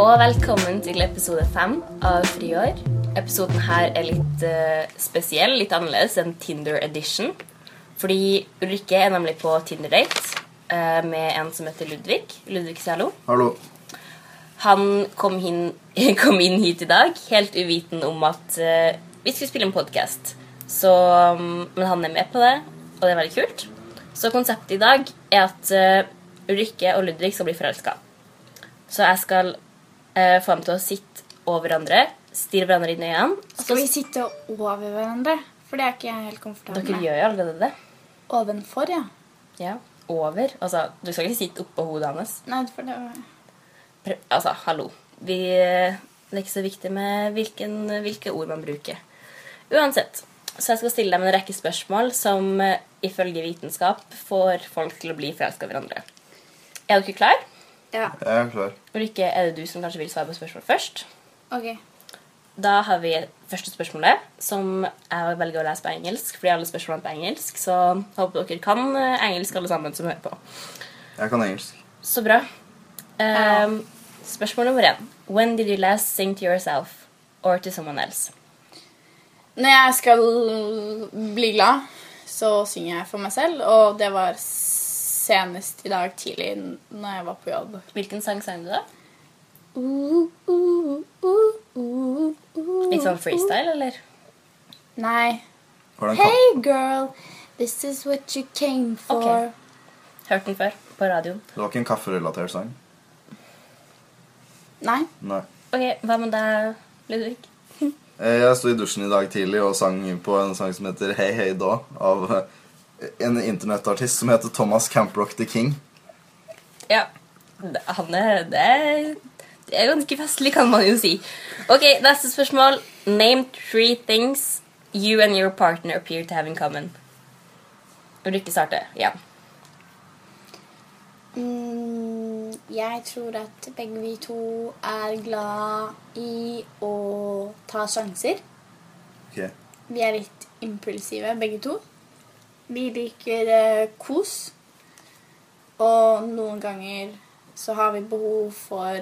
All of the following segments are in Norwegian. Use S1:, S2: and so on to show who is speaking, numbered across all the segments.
S1: Og velkommen til episode fem av Friår. Episoden her er litt eh, spesiell, litt annerledes enn Tinder edition. Fordi Ulrikke er nemlig på Tinder-date eh, med en som heter Ludvig. Ludvig Sjalo.
S2: Hallo.
S1: Han kom, hin, kom inn hit i dag helt uviten om at eh, vi skulle spille en podkast. Men han er med på det, og det er veldig kult. Så konseptet i dag er at eh, Ulrikke og Ludvig skal bli forelska. Så jeg skal eh, få dem til å sitte over hverandre, stirre hverandre inn i øynene.
S3: Skal vi sitte over hverandre? For det er ikke jeg helt komfortabel
S1: Dere
S3: med.
S1: gjør jo allerede det.
S3: Ovenfor, ja.
S1: Ja. Over. Altså, du skal ikke sitte oppå hodet hans.
S3: Nei, for det var...
S1: Prøv, altså, hallo. Vi, det er ikke så viktig med hvilken, hvilke ord man bruker. Uansett. Så jeg skal stille dem en rekke spørsmål som eh, ifølge vitenskap får folk til å bli forelska i hverandre. Er dere klar?
S3: Ja.
S2: Jeg er klar.
S1: Ulrikke, er det du som kanskje vil svare på spørsmål først?
S3: Ok.
S1: Da har vi første spørsmålet, som jeg velger å lese på engelsk. Fordi alle spørsmålene er på engelsk, så håper dere kan eh, engelsk, alle sammen som hører på.
S2: Jeg kan engelsk.
S1: Så bra.
S3: Ja.
S1: Um, spørsmål nummer én. When did you last sing to yourself or to someone else?
S3: Når jeg skal bli glad, så synger jeg for meg selv, og det var senest i dag tidlig n- når jeg var på jobb.
S1: Hvilken sang sang du, da? Litt
S3: Litt
S1: sånn freestyle, eller?
S3: Nei.
S2: Hvordan kan
S3: Hey girl, this is what you came for.
S1: Ok. Hørt den før på radioen.
S2: Det var ikke en kafferelatert sang?
S3: Nei.
S2: Nei.
S1: Ok, Hva med deg, Ludvig?
S2: Eh, Jeg sto i dusjen i dag tidlig og sang på en sang som heter Hey Hey Da av eh, en internettartist som heter Thomas Camprock The King.
S1: Ja. Det- Han er det, er- det er ganske festlig, kan man jo si. Ok, Neste spørsmål. Name three things you and your partner appear to have in common. Ulrikke starter. Ja.
S3: Mm, jeg tror at begge vi to er glad i å ta sjanser.
S2: Ok.
S3: Vi er litt impulsive, begge to. Vi liker eh, kos. Og noen ganger så har vi behov for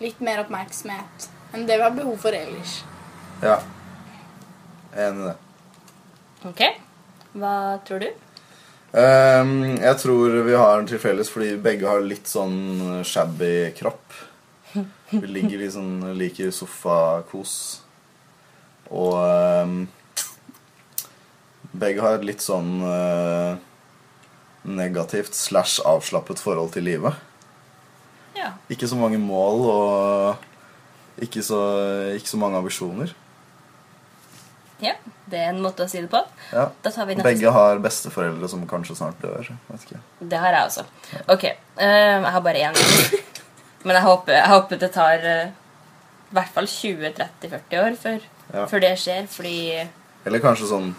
S3: litt mer oppmerksomhet enn det vi har behov for ellers.
S2: Ja. Jeg er enig i det.
S1: Ok. Hva tror du?
S2: Ehm, jeg tror vi har en til felles fordi begge har litt sånn shabby kropp. Vi ligger i sånn liker sofakos. Og ehm, begge har et litt sånn eh, negativt slash avslappet forhold til livet.
S1: Ja.
S2: Ikke så mange mål og ikke så, ikke så mange ambisjoner.
S1: ja. Det er en måte å si det på.
S2: Ja.
S1: Da tar vi
S2: Og
S1: neste.
S2: Begge har besteforeldre som kanskje snart dør. Vet ikke.
S1: Det har jeg også. Ok, eh, jeg har bare én. Men jeg håper, jeg håper det tar eh, i hvert fall 20-30-40 år før,
S2: Ja.
S1: før det skjer. Fordi
S2: Eller kanskje sånn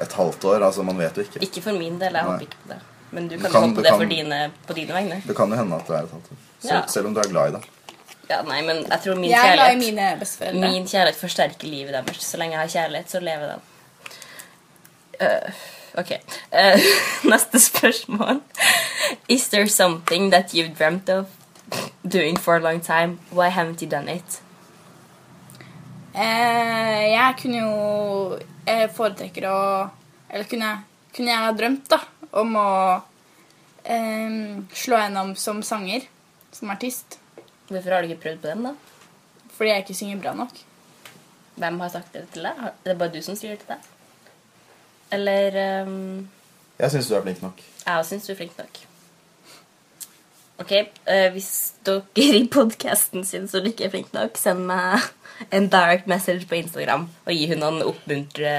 S2: et halvt år. Altså, man vet jo ikke.
S1: Ikke for min del. Jeg
S2: Nei.
S1: håper ikke på det. Men du
S2: Du
S1: kan,
S2: kan-
S1: jo håpe
S2: du
S1: på det
S2: kan-
S1: for dine, på dine vegne.
S2: Det kan jo hende at det er et halvt år. Selv,
S1: Ja.
S2: selv om du er glad i det.
S1: Ja, nei, men jeg tror min
S3: Jeg er glad i
S1: kjærlighet,
S3: mine besteforeldre.
S1: min kjærlighet forsterker livet deres. Så lenge jeg har kjærlighet, så lever den. Eh, ok. Eh, neste spørsmål. Is there something that you've dreamt of doing for a long time? Why haven't you done it?
S3: Eh, jeg kunne jo Jeg foretrekker å Eller kunne, kunne jeg ha drømt, da, om å eh, slå gjennom som sanger. Som artist.
S1: Hvorfor har du ikke prøvd på den, da?
S3: Fordi jeg ikke synger bra nok.
S1: Hvem har sagt det til deg? Har- Det er bare du som sier det til deg? Eller ehm,
S2: Jeg syns du er flink nok.
S1: Jeg òg syns du er flink nok. OK, eh, hvis dere i podkasten syns hun ikke er flink nok, send meg en direct message på Instagram og gi hun noen oppmuntre...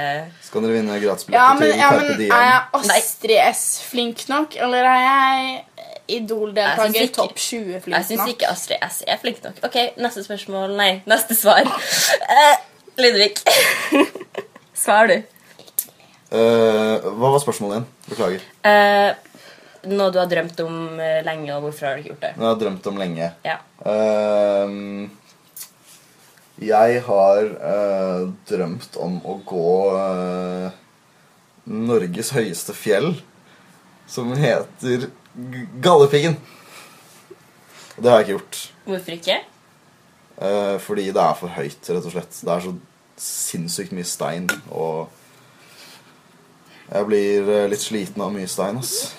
S2: Så kan dere vinne
S3: Ja,
S2: gratisbilletter
S3: men,
S2: til
S3: ja,
S2: Carpe
S3: men
S2: Diem.
S3: er jeg
S1: Nei.
S3: Astrid S flink nok, eller er jeg
S1: Jeg
S3: Idol-deltaker
S1: syns ikke-
S3: topp 20 flink
S1: Jeg syns
S3: nok?
S1: ikke Astrid S er flink nok. OK, neste spørsmål Nei, neste svar. Eh, Ludvig. Svar, du.
S2: Eh, hva var spørsmålet igjen? Beklager.
S1: Eh, noe du har drømt om eh, lenge, og hvorfor har du ikke gjort det?
S2: Jeg har drømt om lenge.
S1: Ja.
S2: Ehm, jeg har eh, drømt om å gå eh, Norges høyeste fjell, som heter G- Galdhøpiggen. Og det har jeg ikke gjort.
S1: Hvorfor ikke?
S2: Eh, fordi det er for høyt, rett og slett. Det er så sinnssykt mye stein, og jeg blir eh, litt sliten av mye stein, ass.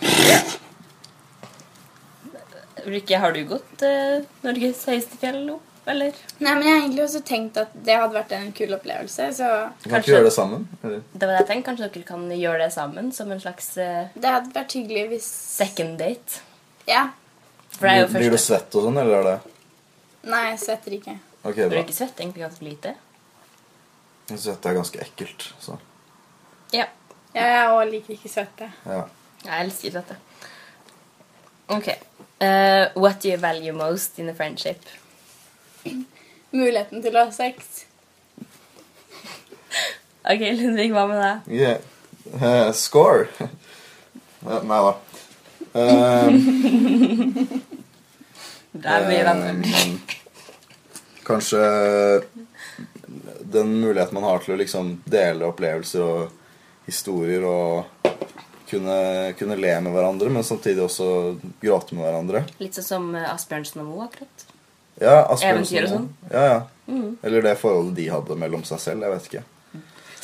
S1: Rikke, har du gått eh, Norges høyeste fjell nå, eller?
S3: Nei, men jeg har egentlig også tenkt at det hadde vært en kul opplevelse, så
S2: Vi kan
S1: Kanskje-
S2: ikke gjøre det sammen. Eller?
S1: Det var det jeg tenkte. Kanskje dere kan gjøre det sammen som en slags eh,
S3: det hadde vært hyggelig hvis
S1: second date?
S3: Ja.
S1: For det er jo
S2: Blir- Blir du
S1: første
S2: svett og sånn, eller er det
S3: Nei, jeg svetter ikke.
S2: Ok,
S1: Du er
S2: bra.
S1: ikke svett, egentlig ganske lite.
S2: Svette er ganske ekkelt, så
S1: Ja.
S3: Ja, jeg òg liker ikke svette.
S2: ja.
S1: Jeg elsker dette. OK. Eh, what do you value most in a friendship?
S3: Muligheten til å ha sex.
S1: OK, Ludvig, hva med deg?
S2: Yeah. Eh, score! Eh, Nei da. Eh,
S1: Det er mye venner.
S2: eh, kanskje eh, den muligheten man har til å liksom dele opplevelser og historier og kunne, kunne le med hverandre, men samtidig også gråte med hverandre.
S1: Litt sånn som eh, Asbjørnsen og Moe, akkurat.
S2: Ja, Asbjørnsen
S1: Eventyr og sånn.
S2: Ja, ja. Eller det forholdet de hadde mellom seg selv. Jeg vet ikke.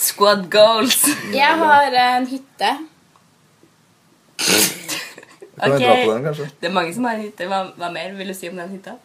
S1: Squad goals!
S3: Jeg har en hytte.
S2: Kan vi dra på den, kanskje?
S1: Det er mange som har en hytte. Hva, hva mer vil du si om den hytta?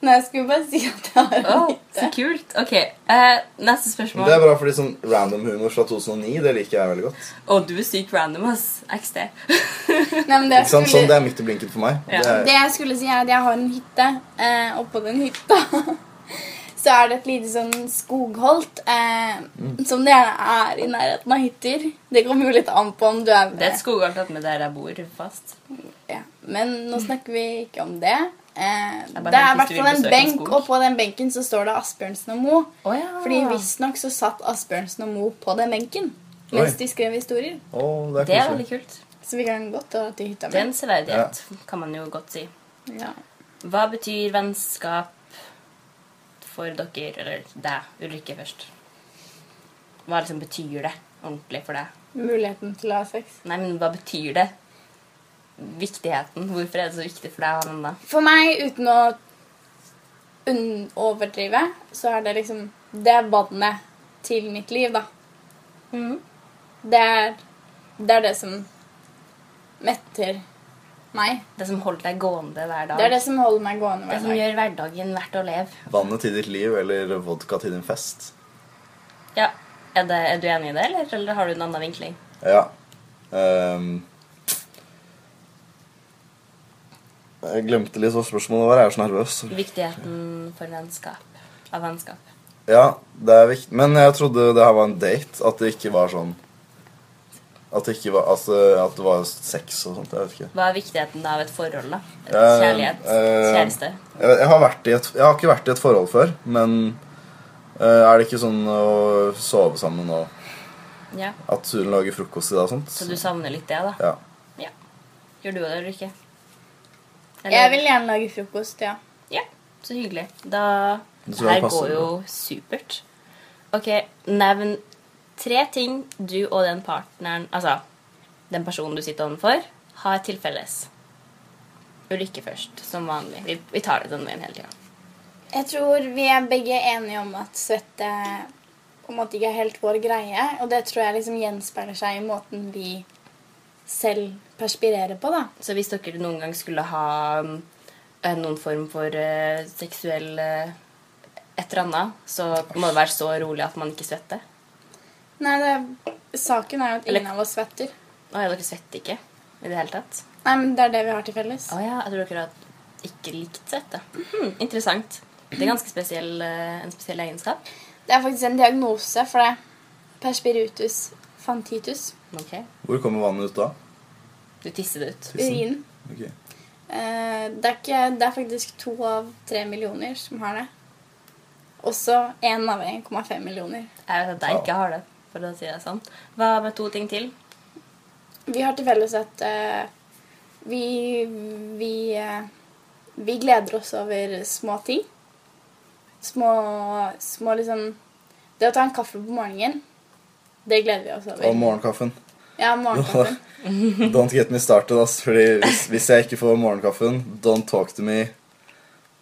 S3: Nei, jeg skulle bare si at jeg har en
S1: Å,
S3: hytte.
S1: så kult. OK, eh, neste
S2: Men Det er
S1: spørsmål.
S2: bra, fordi sånn random humor fra 2009, det liker jeg veldig godt.
S1: Å, du er sykt random, ass. XD.
S3: Nei, men det
S2: Ikke sant?
S3: jeg
S2: Sånn, Det
S3: skulle,
S2: er midt i blinken for meg.
S1: Ja.
S2: Det er,
S3: det jeg skulle si, er at jeg har en hytte, eh, og på den hytta så er det et lite sånn skogholt, eh, som det gjerne er i nærheten av hytter. Det kommer jo litt an på om du er
S1: Det er et skogholt attmed der jeg bor fast.
S3: Ja, men nå snakker vi ikke om det. Eh,
S1: er bare
S3: det er i
S1: helt
S3: hvert
S1: hvis du
S3: fall
S1: vil
S3: en
S1: besøke en
S3: benk,
S1: skog.
S3: og på den benken så står det Asbjørnsen og Moe.
S1: Oh, ja.
S3: Fordi visstnok så satt Asbjørnsen og Moe på den benken
S2: Oi.
S3: mens de skrev historier.
S2: å,
S1: Det er
S2: det er koselig.
S1: veldig kult.
S3: Så vi kan godt dra til hytta
S1: Det er en
S3: mi.
S1: severdighet, kan man jo godt si.
S3: Ja.
S1: Hva betyr vennskap for dere, eller deg, Ulrikke først? Hva liksom betyr det ordentlig for deg?
S3: Muligheten til å ha sex.
S1: Nei, men hva betyr det? Viktigheten. Hvorfor er det så viktig for deg å ha den da?
S3: For meg, uten å unn- overdrive, så er det liksom Det er vannet til mitt liv, da. Mm. Det er det, er det som metter meg.
S1: Det som holder deg gående hver dag.
S3: Det er det som holder meg gående
S1: Det
S3: hver
S1: som
S3: dag.
S1: gjør hverdagen verdt å leve.
S2: Vannet til ditt liv eller vodka til din fest.
S1: Ja. Er, det, er du enig i det, eller, eller har du en annen vinkling?
S2: Ja. Ehm. jeg glemte litt hva spørsmålet var. Jeg er så nervøs.
S1: Viktigheten for vennskap. Av vennskap.
S2: Ja, det er viktig. Men jeg trodde det her var en date. At det ikke var sånn At det ikke var Altså, at det var sex og sånt. Jeg vet ikke.
S1: Hva er viktigheten av et forhold, da? Et
S2: Eh,
S1: kjærlighet?
S2: eh,
S1: kjæreste?
S2: Jeg, vet- jeg, har, vært i et, jeg har ikke vært i et forhold før, men eh, er det ikke sånn å sove sammen og
S1: Ja.
S2: at hun lager frokost i dag og sånt?
S1: Så du savner litt det, da?
S2: Ja.
S1: Ja. Gjør du det, eller ikke?
S3: Jeg vil gjerne lage frokost, ja.
S1: Ja, så hyggelig. Da
S2: Det tror jeg
S1: Her
S2: passer
S1: går jo supert. Ok, nevn tre ting du og den partneren Altså, den personen du sitter overfor, har til felles. Ulrikke først, som vanlig. Vi, vi tar det den veien hele tida.
S3: Jeg tror vi er begge enige om at svette på en måte ikke er helt vår greie. Og det tror jeg liksom gjenspeiler seg i måten vi selv perspirerer på, da.
S1: Så hvis dere noen gang skulle ha mm, eh, noen form for eh, seksuell eh, et eller annet, så må det være så rolig at man ikke svetter.
S3: Nei, det, saken er jo at ingen
S1: Eller-
S3: av oss svetter.
S1: Å ja, dere svetter ikke i det hele tatt?
S3: Nei, men det er det vi har til felles.
S1: Å ja, jeg tror dere har ikke likt svette. Mhm, interessant. Det er ganske spesiell, eh, en spesiell egenskap.
S3: Det er faktisk en diagnose for det. Perspirutus fantitus.
S1: Ok,
S2: Hvor kommer vannet ut da?
S1: Du tisser det ut.
S3: Urin.
S2: Ok.
S3: Eh, det, er ikke, det er faktisk to av tre millioner som har det. Også én av 1,5 millioner.
S1: Jeg vet at jeg ikke har det, for å si det sånn. Hva med to ting til?
S3: Vi har til felles at eh, vi, vi, eh, vi gleder oss over små ting. Små, små liksom Det å ta en kaffe på morgenen, det gleder vi oss
S2: Og
S3: over.
S2: morgenkaffen.
S3: Ja, morgenkaffen.
S2: Don't get me started, ass. Fordi hvis, hvis jeg ikke får morgenkaffen, don't talk to me.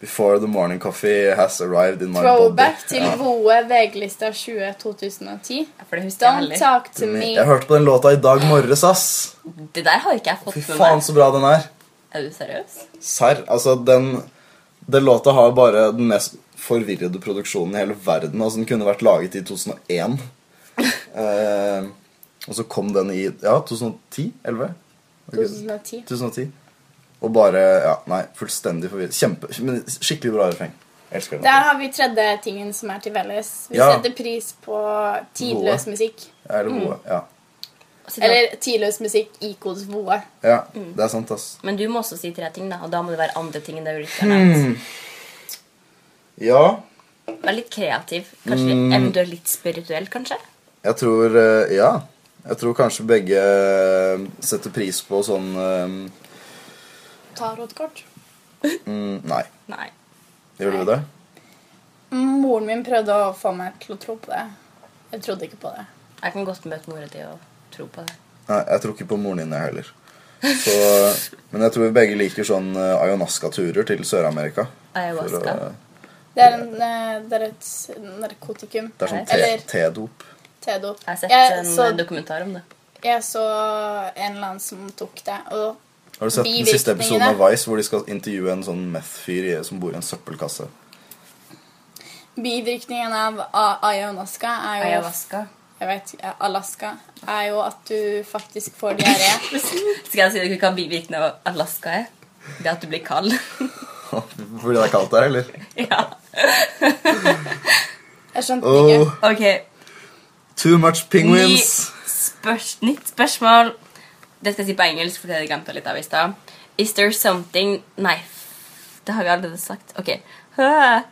S2: Before the morning coffee has arrived in my
S3: Throwback
S2: body.
S3: til gode VG-lista 20 2010.
S1: For det husker jeg
S3: Don't
S1: heller.
S3: talk to me.
S2: Mm. Jeg hørte på den låta i dag morges, ass.
S1: Det der har ikke jeg fått
S2: Fy
S1: med
S2: faen,
S1: meg.
S2: så bra den er.
S1: Er du seriøs?
S2: Serr. Altså, den Den låta har bare den mest forvirrede produksjonen i hele verden. Altså, den kunne vært laget i 2001. Eh, og så kom den i Ja, 2010? 11?
S3: 2010.
S2: 2010. Og bare Ja, nei, fullstendig forvirret. Kjempe, men skikkelig bra refreng. Jeg Elsker den.
S3: Der har vi tredje tingen som er til felles. Vi
S2: Ja.
S3: setter pris på tidløs
S2: Gode.
S3: musikk.
S2: Er det gode? Ja.
S1: Sitter-
S3: Eller tidløs musikk i kodes voe.
S2: ja.
S1: Mm.
S2: Det er sant, ass.
S1: Men du må også si tre ting, da, og da må det være andre ting enn det Ulrikke har nevnt.
S2: Ja,
S1: Vær litt kreativ. Kanskje eventuelt litt spirituell, kanskje.
S2: jeg tror eh, Ja. Jeg tror kanskje begge eh, setter pris på sånn eh,
S3: Tarotkort.
S2: mm, Nei.
S1: Nei.
S2: Gjør du det?
S3: Moren min prøvde å få meg til å tro på det. Jeg trodde ikke på det.
S1: Jeg kan godt møte mora di og tro på det.
S2: Nei, jeg tror ikke på moren din, jeg heller. Så, eh, men jeg tror vi begge liker sånn eh, ayahuasca-turer til Sør-Amerika. For,
S1: Ayahuasca.
S2: eh,
S3: Det er, en, eh, det er et narkotikum.
S2: Det er sånn te-
S3: Eller
S2: tedop.
S3: T-dop.
S1: Jeg har sett
S3: Jeg,
S1: en
S3: så-
S1: eh, dokumentar om det.
S3: jeg så en eller annen som tok det, og
S2: Har du sett den siste episoden
S3: Bivirkningene.
S2: av Vice hvor de skal intervjue en sånn meth-fyr i- som bor i en søppelkasse?
S3: bivirkningen av a- ayahuasca er jo
S1: Ayahuasca.
S3: Jeg vet, ja, Alaska er jo at du faktisk får diaré.
S1: Skal jeg si dere hva bivirkningen av Alaska er? Det er at du blir kald.
S2: Fordi det er kaldt der, eller?
S1: ja.
S3: Jeg skjønte det
S2: Oh,
S3: ikke.
S1: Ok.
S2: too much
S1: Ny
S2: penguins!
S1: spørs nytt spørsmål. Det skal jeg si på engelsk, for det glemte jeg litt av i stad. Is there something Nei, f- det har vi allerede sagt. Ok. Hø.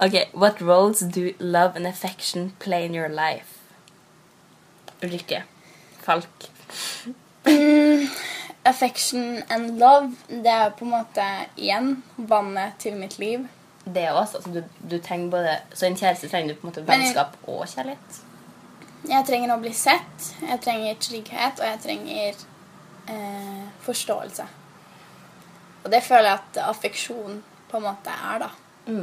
S1: ok. What roles do love and affection play in your life? Ulrikke. Falk.
S3: Affection and love, det er på en måte igjen vannet til mitt liv.
S1: Det også, altså du, du trenger både, Så i en kjæreste trenger du på en måte
S3: Men-
S1: vennskap og kjærlighet.
S3: Jeg trenger å bli sett, jeg trenger trygghet, og jeg trenger eh, forståelse. Og det føler jeg at affeksjon på en måte er, da.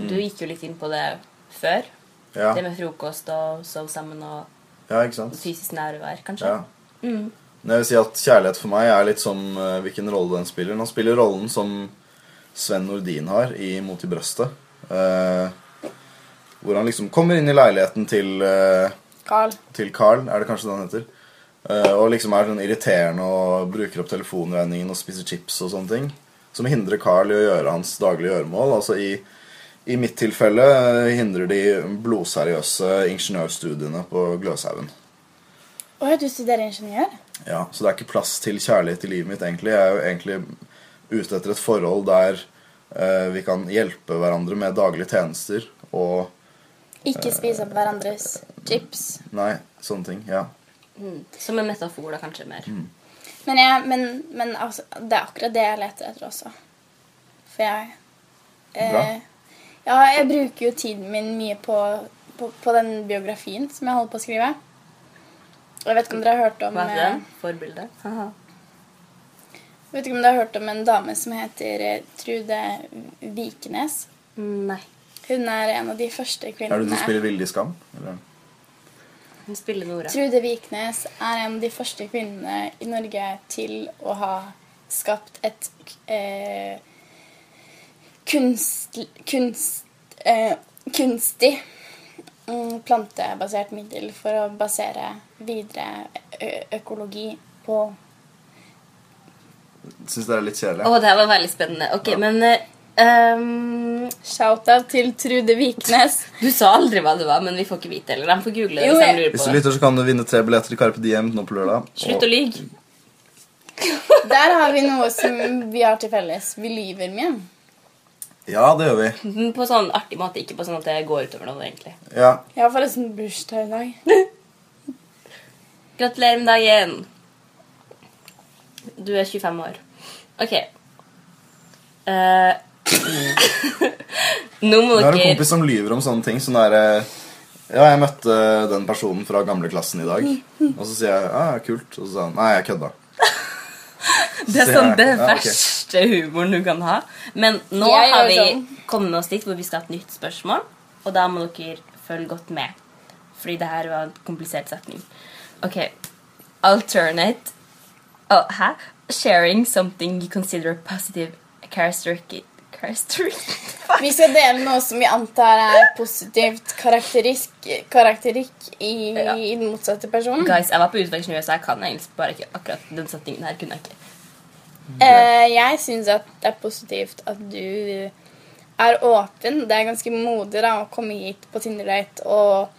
S1: Du gikk jo litt inn på det før.
S2: Mm. Ja.
S1: Det med frokost og sove sammen og
S2: ja, ikke sant?
S1: fysisk nærvær, kanskje.
S2: Ja. Men jeg vil si at kjærlighet for meg er litt som eh, hvilken rolle den spiller. Han spiller rollen som Sven Nordin har i Mot i brøstet. eh, hvor han liksom kommer inn i leiligheten til eh,
S3: Carl.
S2: til Carl, er det kanskje det han heter. Eh, og liksom er sånn irriterende og bruker opp telefonregningen og spiser chips og sånne ting. Som hindrer Carl i å gjøre hans daglige gjøremål. Altså i, i mitt tilfelle eh, hindrer de blodseriøse ingeniørstudiene på Gløshaugen.
S3: Å ja, du studerer ingeniør?
S2: Ja, så det er ikke plass til kjærlighet i livet mitt, egentlig. Jeg er jo egentlig ute etter et forhold der eh, vi kan hjelpe hverandre med daglige tjenester og
S3: Ikke spise opp hverandres chips.
S2: Nei, sånne ting. Ja.
S1: Mm. Som en metafor, da, kanskje mer.
S2: Mm.
S3: Men, jeg, men, men altså, det er akkurat det jeg leter etter også. For jeg eh,
S2: Bra.
S3: Ja, jeg bruker jo tiden min mye på, på, på den biografien som jeg holder på å skrive. Og Jeg vet ikke om dere har hørt om
S1: Hva heter
S3: eh,
S1: den? Forbildet? Haha.
S3: Vet ikke om dere har hørt om en dame som heter eh, Trude Vikenes.
S1: Nei.
S3: Hun er en av de første
S2: Er det du som
S3: kvinnene
S2: spiller Vilde i Skam? Eller?
S1: Hun spiller Nora.
S3: Trude Viknes er en av de første kvinnene i Norge til å ha skapt et eh, kunst, kunst, eh, kunstig mm, plantebasert middel for å basere videre ø økologi på
S2: Syns dere det er litt kjedelig?
S1: Å, det her var veldig spennende. Ok, men eh, um,
S3: Mm, Shout-out til Trude Viknes.
S1: Du sa aldri hva det var, men vi får ikke vite eller De får google det
S3: Jo,
S1: hvis de
S3: jeg-
S1: lurer
S2: Hvis
S1: på
S2: du
S1: det.
S2: lytter, så kan du vinne tre billetter til Carpe Diem nå på lørdag.
S1: Slutt å lyge.
S3: Der har vi noe som vi har til felles. Vi lyver mye.
S2: Ja, det gjør vi.
S1: Men På sånn artig måte, ikke på sånn at det går utover noe, egentlig.
S2: Ja.
S3: Jeg har forresten bursdag i dag.
S1: Gratulerer med dagen. Du er 25 år. Ok. Eh, Nå må
S2: Jeg har en
S1: dere
S2: kompis som lyver om sånne ting. Sånn der, eh, ja, jeg møtte den personen fra gamleklassen i dag. Og så sier jeg ja, kult. Og så sa han nei, jeg kødda.
S1: Det er
S2: Se
S1: sånn,
S2: her.
S1: det er
S2: Ja, ok.
S1: verst. verste humoren du kan ha. Men nå
S3: Jeg
S1: har
S3: gjør
S1: vi
S3: sånn.
S1: kommet oss dit hvor vi skal ha et nytt spørsmål, og da må dere følge godt med. Fordi det her var en komplisert setning. Ok. Alternate oh, Hæ? Sharing something you consider a positive characteristic characteristic-
S3: Vi skal dele noe som vi antar er positivt karakteristikk karakteristikk i,
S1: Ja.
S3: i den motsatte personen.
S1: Guys, jeg var på utveksling i USA, jeg kan engelsk, bare ikke akkurat den setningen her kunne jeg ikke.
S3: Eh, jeg syns at det er positivt at du er åpen. Det er ganske modig da, å komme hit på Tinder-date og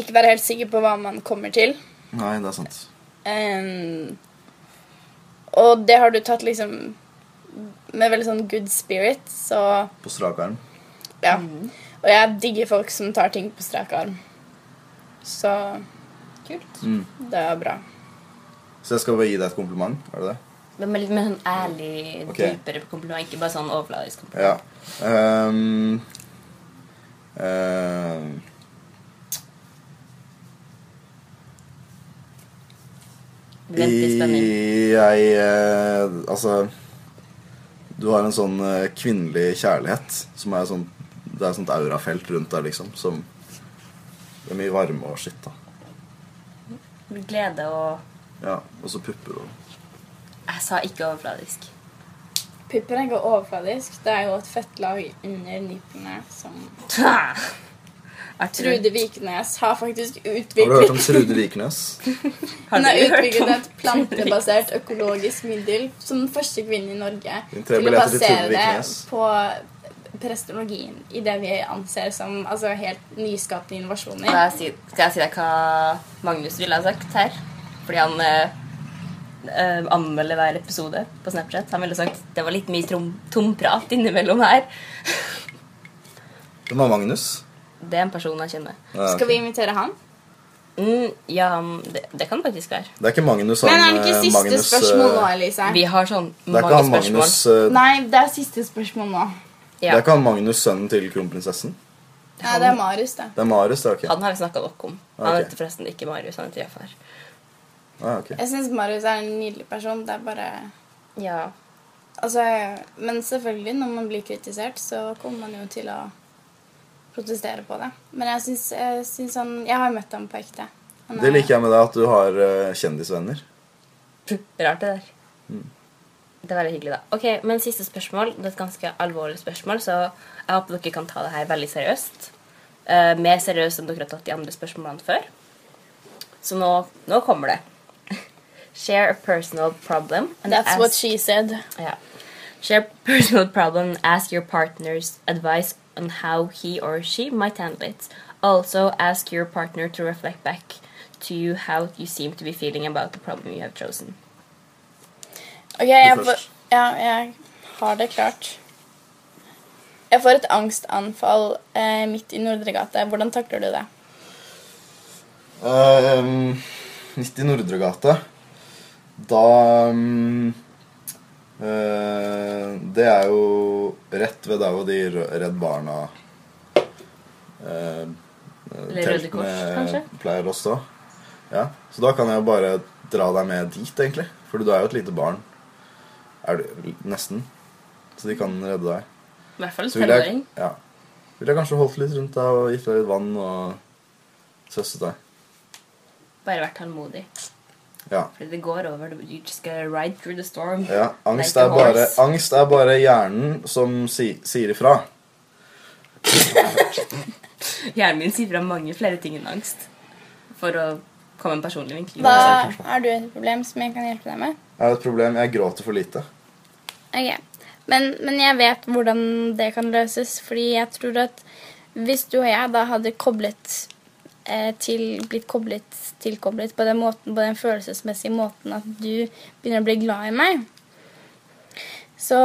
S3: ikke være helt sikker på hva man kommer til.
S2: Nei, det er sant.
S3: Em, og det har du tatt liksom med veldig sånn good spirit, så
S2: På strak arm.
S3: ja. Og jeg digger folk som tar ting på strak arm. Så
S1: Kult.
S2: Mm.
S3: det er bra.
S2: Så jeg skal bare gi deg et kompliment. Er det det?
S1: Men med litt mer sånn ærlig,
S2: Ok.
S1: dypere kompliment, ikke bare sånn overfladisk kompliment.
S2: Ja. Ehm, ehm.
S1: Vi venter i spenning.
S2: I- Jeg eh, Altså Du har en sånn eh, kvinnelig kjærlighet som er sånn Det er et sånt aurafelt rundt der, liksom, som Det er mye varme og shit, da.
S1: Glede og
S2: Ja, og så pupper og
S1: Jeg sa ikke overfladisk.
S3: Puppen er ikke overfladisk. Det er jo et fettlag under nippene som
S1: Arthur,
S3: Trude Viknes har faktisk
S2: Har du hørt om
S3: utviklet
S2: Trude Vikernes?
S1: har
S3: Hun
S1: du
S3: har
S1: hørt
S3: utviklet
S1: om-
S3: et plantebasert økologisk middel som den første kvinnen i Norge
S2: Din tre
S3: til å
S2: billetter til
S3: basere
S2: Trude
S3: det
S2: Viknes.
S3: på prestologien i det vi anser som altså, helt nyskapende
S1: Skal
S3: innovasjoner.
S1: jeg si, skal jeg si deg hva Magnus ville ha sagt her? Fordi han eh, eh, anmelder hver episode på Snapchat. Han ville sagt det var litt mye tom, tomprat innimellom her.
S2: Det var Magnus.
S1: Det er en person jeg kjenner.
S2: Ja,
S3: Skal
S2: ok.
S3: vi invitere han?
S1: Mm, ja, han- det, det kan faktisk være.
S2: Det er ikke Magnus han
S3: Men er det ikke
S2: eh,
S3: siste
S2: Magnus, eh,
S3: spørsmål nå, Elise?
S1: Vi har sånn
S2: Det er ikke
S1: mange
S2: han
S1: spørsmål.
S2: Magnus eh,
S3: Nei, det er siste spørsmål nå.
S2: Det
S1: Ja.
S2: er ikke han Magnus, sønnen til kronprinsessen?
S3: Nei, det er Marius, det.
S2: Det er Marius, det er ok.
S1: Han har vi snakka nok om. Han
S2: Ok.
S1: heter forresten ikke Marius, han heter Jafar.
S2: Ah, ok.
S3: Jeg syns Marius er en nydelig person. Det er bare
S1: Ja.
S3: Altså, men selvfølgelig, når man blir kritisert, så kommer man jo til å protestere på det. Men jeg syns, jeg syns han Jeg har møtt ham på ekte. Han
S2: Det liker jeg med deg, at du har eh, kjendisvenner.
S1: Rart det der. Det er veldig hyggelig, da. Ok, men Siste spørsmål. Det er et ganske alvorlig spørsmål, så jeg håper dere kan ta det her veldig seriøst. Eh, mer seriøst enn dere har tatt de andre spørsmålene før. Så nå, nå kommer det. Share a personal problem. and
S3: That's
S1: ask-
S3: what she said.
S1: ja. Share personal problem and ask your partner's advice on how he or she might handle it. Also, ask your partner to reflect back to you how you seem to be feeling about the problem you have chosen.
S3: Ok, jeg, får,
S2: først.
S3: ja, jeg har det klart. Jeg får et angstanfall eh, midt i Nordregata. Hvordan takler du det?
S2: Uh, midt i Nordregata. Da mm, eh, Det er jo rett ved der hvor de rø- Redd Barna eh,
S1: Eller Røde Kors,
S2: teltene
S1: kanskje?
S2: pleier å stå. Ja. Så da kan jeg jo bare dra deg med dit, egentlig. For du er jo et lite barn. Er du, nesten. Så de kan redde deg.
S1: I hvert fall
S2: Så ville jeg,
S1: tenåring.
S2: ja, vil jeg kanskje holdt litt rundt deg og gitt deg litt vann og søsset deg.
S1: Bare vært tålmodig.
S2: Ja.
S1: Fordi det går over. du- You just gotta ride through the storm.
S2: Ja, angst
S1: Like a
S2: er, bare,
S1: horse.
S2: angst er bare hjernen som si, sier ifra.
S1: Hjernen min sier fra mange flere ting enn angst. For å komme en personlig vinkel.
S3: Hva
S2: Ja, det er klart.
S3: Har du et problem som jeg kan hjelpe deg med?
S2: Jeg har et problem. Jeg gråter for lite.
S3: Ok, men, men jeg vet hvordan det kan løses, fordi jeg tror at hvis du og jeg da hadde koblet eh, til, blitt koblet, tilkoblet på den, måten, på den følelsesmessige måten at du begynner å bli glad i meg, så,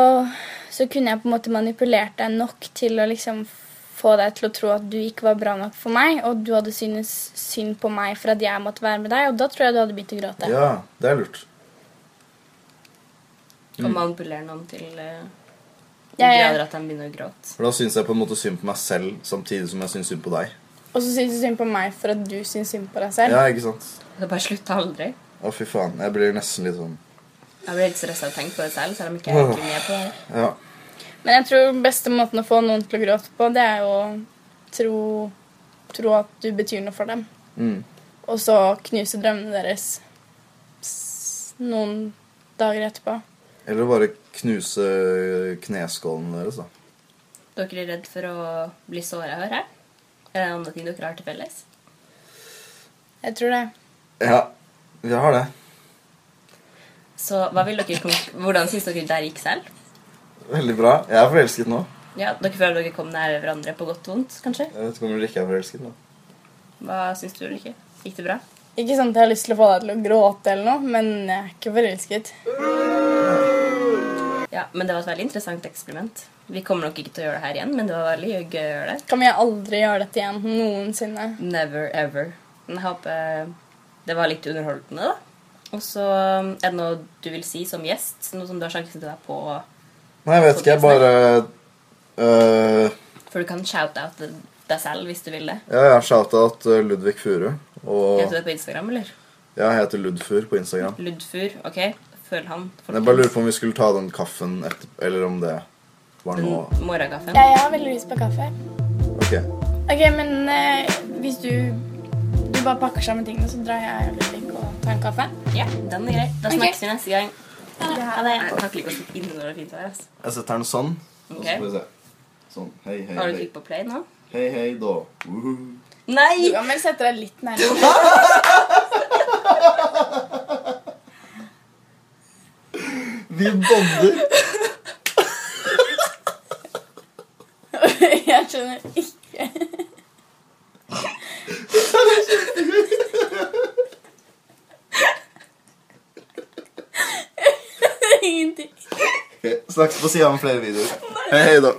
S3: så kunne jeg på en måte manipulert deg nok til å liksom få deg til å tro at du ikke var bra nok for meg, og du hadde syntes synd på meg for at jeg måtte være med deg, og da tror jeg du hadde begynt å gråte.
S2: Ja, det er lurt. Mm.
S1: Og manipulere noen til uh,
S3: Ja, ja.
S1: grader at de begynner å gråte.
S2: For da syns jeg på en måte synd på meg selv samtidig som jeg syns synd på deg.
S3: Og så syns du synd på meg for at du syns synd på deg selv.
S2: Ja, ikke sant?
S1: Det bare slutter aldri.
S2: Å, fy faen. Jeg blir nesten litt sånn
S1: Jeg blir litt stressa av å tenke på det selv, selv om ikke jeg ikke er med på det.
S2: Ja.
S3: Men jeg tror beste måten å få noen til å gråte på, det er jo å tro, tro at du betyr noe for dem.
S2: Mm.
S3: Og så knuse drømmene deres s- noen dager etterpå.
S2: Eller bare knuse kneskålen deres, da.
S1: Dere er redd for å bli såra, hører jeg. Er det andre ting dere har til felles?
S3: Jeg tror det.
S2: Ja, vi har det.
S1: Så hva vil dere konk- Hvordan syns dere der gikk selv?
S2: Veldig bra. Jeg er forelsket nå.
S1: Ja, Dere føler dere kom nære hverandre på godt og vondt, kanskje?
S2: Jeg vet ikke om dere ikke er forelsket nå.
S1: Hva syns du, Ulrikke? Gikk det bra?
S3: Ikke sant jeg har lyst til å få deg til å gråte eller noe, men jeg er ikke forelsket.
S1: Ja, men det var et veldig interessant eksperiment. Vi kommer nok ikke til å gjøre det her igjen, men det var veldig gøy å gjøre det.
S3: Kan vi aldri gjøre dette igjen noensinne?
S1: Never ever. Men Jeg håper eh, det var litt underholdende, da. Og så um, er det noe du vil si som gjest? Noe som du har sjansen til deg på
S2: Nei, jeg vet ikke. Jeg bare øh,
S1: For du kan shout-out deg selv hvis du vil det.
S2: Ja, jeg har shout-out øh, Ludvig Furu. Og
S1: Heter du det på Instagram, eller?
S2: jeg heter Ludfur på Instagram.
S1: Ludfur, OK? Følg han.
S2: Men jeg bare lurer på om vi skulle ta den kaffen etter, eller om det var nå.
S1: Den Morgenkaffen.
S3: Ja, jeg har veldig lyst på kaffe.
S2: Ok.
S3: Ok, men eh, hvis du, du bare pakker sammen tingene, så drar jeg og Ludvig og tar en kaffe.
S1: Ja, den er grei. Da
S3: Ok.
S1: snakkes vi neste gang. Ha det. Jeg Takler ikke å sitte inne når det er fint vær. ass.
S2: Jeg setter den sånn. og så
S1: Ok.
S2: får vi se. Sånn. Hei, hei,
S1: Har du
S2: hei.
S1: trykk på play nå?
S2: Hei, hei, da. Woohoo.
S1: Nei!
S3: Du kan vel sette deg litt nærmere.
S2: Vi bonder.
S3: Jeg skjønner ikke. Ingenting.
S2: Ok, Snakkes på sida om flere videoer. Hei, hei, da.